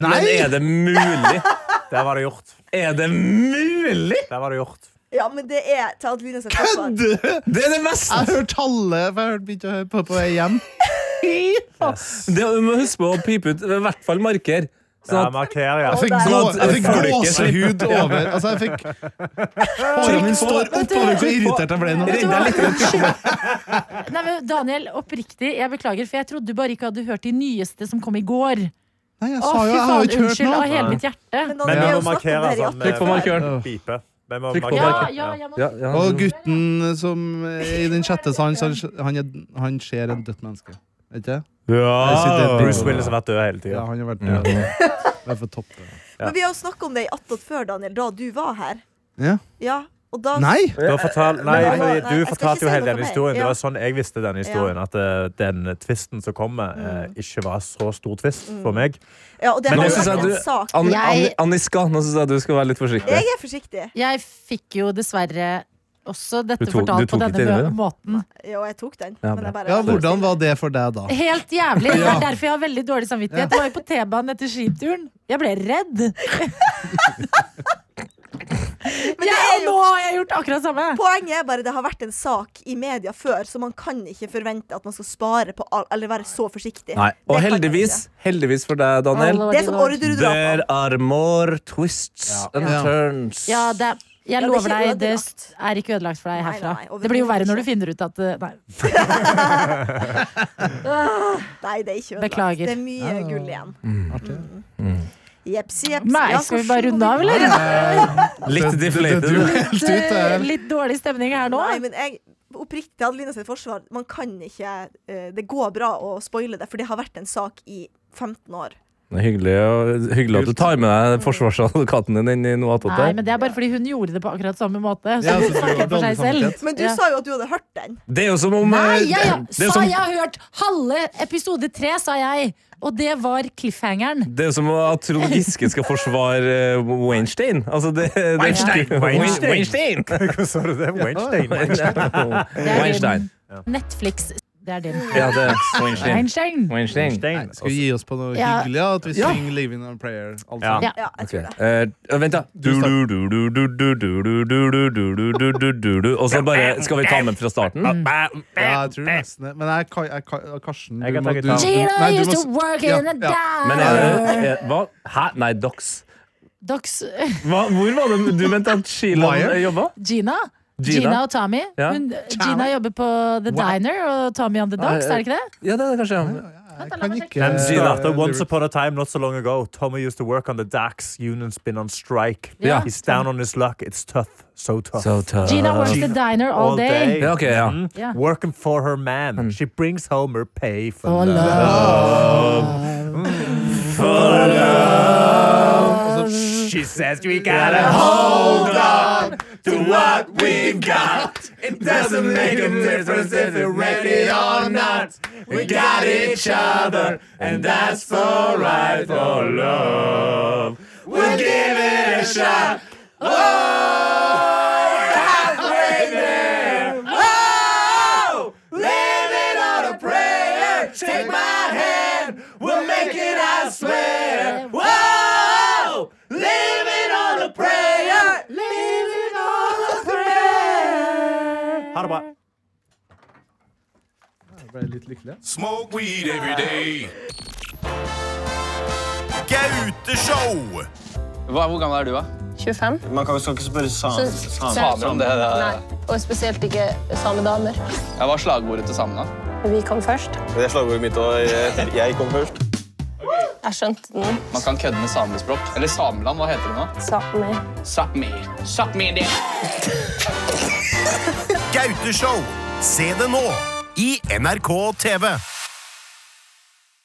Speaker 6: men er det mulig?
Speaker 3: Der var det gjort.
Speaker 6: Er det mulig?!
Speaker 3: Der var det gjort.
Speaker 5: Ja, men det er til Adelina sin forsvar.
Speaker 4: Du!
Speaker 6: Det er det mest!
Speaker 4: Jeg hørte tallet, for jeg hørte begynte å høre på på vei hjem.
Speaker 6: Det, du må huske på å pipe ut, i hvert fall marker.
Speaker 3: Der
Speaker 6: Sånn at
Speaker 3: markerer
Speaker 5: Og
Speaker 4: Jeg
Speaker 3: jeg.
Speaker 4: fikk,
Speaker 5: der-
Speaker 4: gå, jeg fikk
Speaker 6: Får du ikke
Speaker 4: gåsehud over Altså, jeg fikk Håret mitt står oppover, så irritert jeg ble nå.
Speaker 6: Redd deg litt.
Speaker 2: [LAUGHS] Nei, men Daniel, oppriktig, jeg beklager, for jeg trodde du bare ikke hadde hørt de nyeste som kom i går.
Speaker 4: Nei, jeg
Speaker 2: Å,
Speaker 4: sa jo,
Speaker 2: fy
Speaker 4: jeg har jo
Speaker 2: faen,
Speaker 4: ikke hørt
Speaker 2: unnskyld, av
Speaker 4: noe.
Speaker 2: hele mitt hjerte.
Speaker 5: Men
Speaker 3: Men
Speaker 5: Daniel,
Speaker 3: vi
Speaker 5: vi har
Speaker 3: må
Speaker 5: jo snakket om
Speaker 3: markere
Speaker 5: det her i
Speaker 3: sånn
Speaker 6: Trykk på markøren.
Speaker 4: Åh.
Speaker 3: pipe. Vi må
Speaker 6: Trykk på
Speaker 2: Ja,
Speaker 3: markere.
Speaker 6: markøren.
Speaker 2: ja, jeg må...
Speaker 6: Ja, ja.
Speaker 4: Og gutten som i den chatte sa han, han, er- han ser en dødt menneske. Vet ikke?
Speaker 3: Ja. Bruce Willis har vært død hele
Speaker 4: Ja,
Speaker 3: tida.
Speaker 4: han har vært død. Det er for topp.
Speaker 5: Men vi har jo snakket om det i Attåt før, Daniel, da du var her.
Speaker 4: Ja.
Speaker 5: Ja, og da
Speaker 4: Nei!
Speaker 3: Du, har fortalt, nei,
Speaker 5: Nei,
Speaker 3: fordi
Speaker 5: nei,
Speaker 3: du
Speaker 5: jeg skal ikke
Speaker 3: fortalte jo
Speaker 5: si
Speaker 3: hele
Speaker 5: noe
Speaker 3: den
Speaker 5: mer.
Speaker 3: historien. Det
Speaker 5: Ja.
Speaker 3: var sånn jeg visste den historien. At eh, den tvisten som kommer, eh, ikke var så stor tvist for meg.
Speaker 5: Ja, og det
Speaker 6: Men
Speaker 5: har
Speaker 6: nå
Speaker 5: jo
Speaker 6: synes jeg
Speaker 5: vært en
Speaker 6: du-
Speaker 5: sak.
Speaker 6: An, an,
Speaker 2: Jeg-
Speaker 6: Anniska, nå syns jeg du skal være litt forsiktig.
Speaker 5: Jeg er forsiktig.
Speaker 2: Jeg fikk jo dessverre også dette
Speaker 6: Du tok- du
Speaker 2: fortalt på
Speaker 6: tok
Speaker 2: denne
Speaker 6: ikke
Speaker 2: mø-
Speaker 6: det, da?
Speaker 2: måten.
Speaker 5: Jo, jeg tok den.
Speaker 6: Ja,
Speaker 5: men jeg bare,
Speaker 4: Ja, hvordan var det for deg da?
Speaker 2: Helt jævlig. Det er derfor jeg har veldig dårlig
Speaker 4: Ja.
Speaker 2: samvittighet. Jeg var jo på T-banen etter skituren. Jeg ble redd.
Speaker 5: det
Speaker 2: Ja,
Speaker 5: er
Speaker 2: og
Speaker 5: jo-
Speaker 2: nå har jeg gjort akkurat samme.
Speaker 5: Poenget er bare det har vært en sak i media før, så man kan ikke forvente at man skal spare på all, eller være så forsiktig.
Speaker 6: Nei.
Speaker 5: Det
Speaker 6: Og
Speaker 5: kan man
Speaker 6: heldigvis, heldigvis for deg, Daniel.
Speaker 2: Alle-
Speaker 5: ikke. Det er som ordredrapene.
Speaker 6: There are more twists and
Speaker 4: Ja.
Speaker 6: turns.
Speaker 2: Ja, det, jeg
Speaker 5: Ja, det er
Speaker 2: lover deg,
Speaker 5: ikke
Speaker 2: det
Speaker 5: ødelagt.
Speaker 2: s- er ikke ødelagt for deg
Speaker 5: Nei,
Speaker 2: herfra.
Speaker 5: nei, overhodet
Speaker 2: det blir jo verre når du
Speaker 5: ikke.
Speaker 2: finner ut at uh, Nei.
Speaker 5: Nei, det er ikke ødelagt.
Speaker 2: Beklager.
Speaker 5: Det er mye
Speaker 6: Ah.
Speaker 5: gull igjen.
Speaker 4: Artig.
Speaker 5: Jeps, jeps.
Speaker 2: Nei,
Speaker 5: Ja,
Speaker 2: skal vi
Speaker 5: hvordan
Speaker 2: bare runde
Speaker 5: går
Speaker 2: av, eller?
Speaker 6: Litt deflated.
Speaker 4: Helt ut
Speaker 2: Litt,
Speaker 4: der.
Speaker 2: litt dårlig stemning her nå.
Speaker 5: eh. Nei, men jeg oppriktig Adelina sitt forsvar. Man kan ikke eh, Det går bra å spoile det, for det har vært en sak i 15 år.
Speaker 6: Det er hyggelig, å- hyggelig at du tar med deg forsvarsadvokaten din inn i noe attåt
Speaker 2: Nei,
Speaker 6: der.
Speaker 2: men Det er bare fordi hun gjorde det på akkurat samme måte. Så
Speaker 4: Ja,
Speaker 2: hun
Speaker 4: så det var
Speaker 2: snakker for
Speaker 4: dårlig
Speaker 2: seg selv.
Speaker 4: samvittighet.
Speaker 5: Men du
Speaker 2: Ja.
Speaker 5: sa jo at du hadde hørt den.
Speaker 6: Det er jo som om
Speaker 2: Nei,
Speaker 6: eh,
Speaker 2: ja, ja.
Speaker 6: Det er jo
Speaker 2: Sa
Speaker 6: som,
Speaker 2: jeg har hørt halve episode tre, sa jeg. Og det var cliffhangeren.
Speaker 6: det er jo som at Trond Giske skal forsvare eh, Weinstein. Altså, det, det,
Speaker 3: Weinstein,
Speaker 6: [LAUGHS]
Speaker 3: Weinstein.
Speaker 6: Weinstein.
Speaker 3: Hvordan sa du
Speaker 6: [LAUGHS]
Speaker 3: det? Weinstein?
Speaker 6: Weinstein.
Speaker 2: Netflix. Det er din.
Speaker 6: Ja, det er Weinstein.
Speaker 2: Einstein.
Speaker 6: Weinstein.
Speaker 3: Weinstein.
Speaker 4: Skal vi gi oss på noe
Speaker 2: Ja.
Speaker 4: hyggelig? At vi
Speaker 6: Ja.
Speaker 4: synger 'Living on a Prayer'? alt
Speaker 3: Ja.
Speaker 4: sammen?
Speaker 5: Ja, jeg tror det.
Speaker 6: Eh, eh, vent, da. Du, du, du, du, du, du, du, du, du, du, du, du, du, du, du. Mm. Og så bare Skal vi ta med fra starten?
Speaker 4: Ja, jeg tror nesten det. Men jeg, Kai- jeg, Kai- Karsten
Speaker 3: Jeg kan
Speaker 4: du må-
Speaker 3: ta
Speaker 4: du-
Speaker 3: gitar.
Speaker 2: Gina
Speaker 4: nei, du
Speaker 2: used
Speaker 4: må-
Speaker 2: to work
Speaker 4: ja,
Speaker 2: in a
Speaker 4: ja.
Speaker 6: Men
Speaker 2: dime.
Speaker 6: er det er- Hva? Hæ? Nei, Dox.
Speaker 2: Dox
Speaker 6: Hva, hvor var det du mente at Sheila eh,
Speaker 4: Wire?
Speaker 6: jobba?
Speaker 2: Gina.
Speaker 6: Gina.
Speaker 2: Gina og Tommy.
Speaker 6: Ja.
Speaker 2: Hun, Gina jobber på The Diner og Tommy on The Dogs, er det ikke det?
Speaker 6: Ja, det er det kanskje. ja.
Speaker 4: Jeg kan ikke
Speaker 3: Den starter
Speaker 4: eh,
Speaker 3: once upon a time, not so long ago. Tommy used to work on the docks. Union's been on strike.
Speaker 6: Ja.
Speaker 3: He's down on his luck. It's tough. So tough.
Speaker 6: So tough.
Speaker 2: Gina works the diner all day.
Speaker 6: Ja, ok, ja.
Speaker 3: Mhm.
Speaker 2: Ja.
Speaker 3: Working for her man. She brings home her pay for
Speaker 2: Og
Speaker 3: love.
Speaker 4: altså, pff,
Speaker 3: She says we gotta hold on to what we've got. It [LAUGHS] doesn't make a difference if we're ready or not. We got each other, and that's alright for love. We'll give it a shot. Oh, Oh, Take my hand, we'll make it, I swear. Whoa! Living on a prayer! Living on a prayer! Ha det bra.
Speaker 4: jeg ble litt lykkelig.
Speaker 7: Smoke weed every day. Gauteshow! Hva, hvor gammel er du, da?
Speaker 8: 25.
Speaker 9: Man kan jo skal ikke spørre
Speaker 8: Så-
Speaker 9: sam- sam-
Speaker 7: Samer om det. det
Speaker 8: Nei. Og spesielt ikke samedamer.
Speaker 7: Jeg var slagordet til samene.
Speaker 8: Vi kom først.
Speaker 9: Det er slagordet mitt og jeg, jeg kom først.
Speaker 8: Jeg skjønte den.
Speaker 7: Man kan kødde med samespråk. Eller Sameland, hva heter det nå?
Speaker 8: Samer.
Speaker 7: Sápmi. Sápmi det.
Speaker 3: Gauteshow. Se det nå i NRK TV.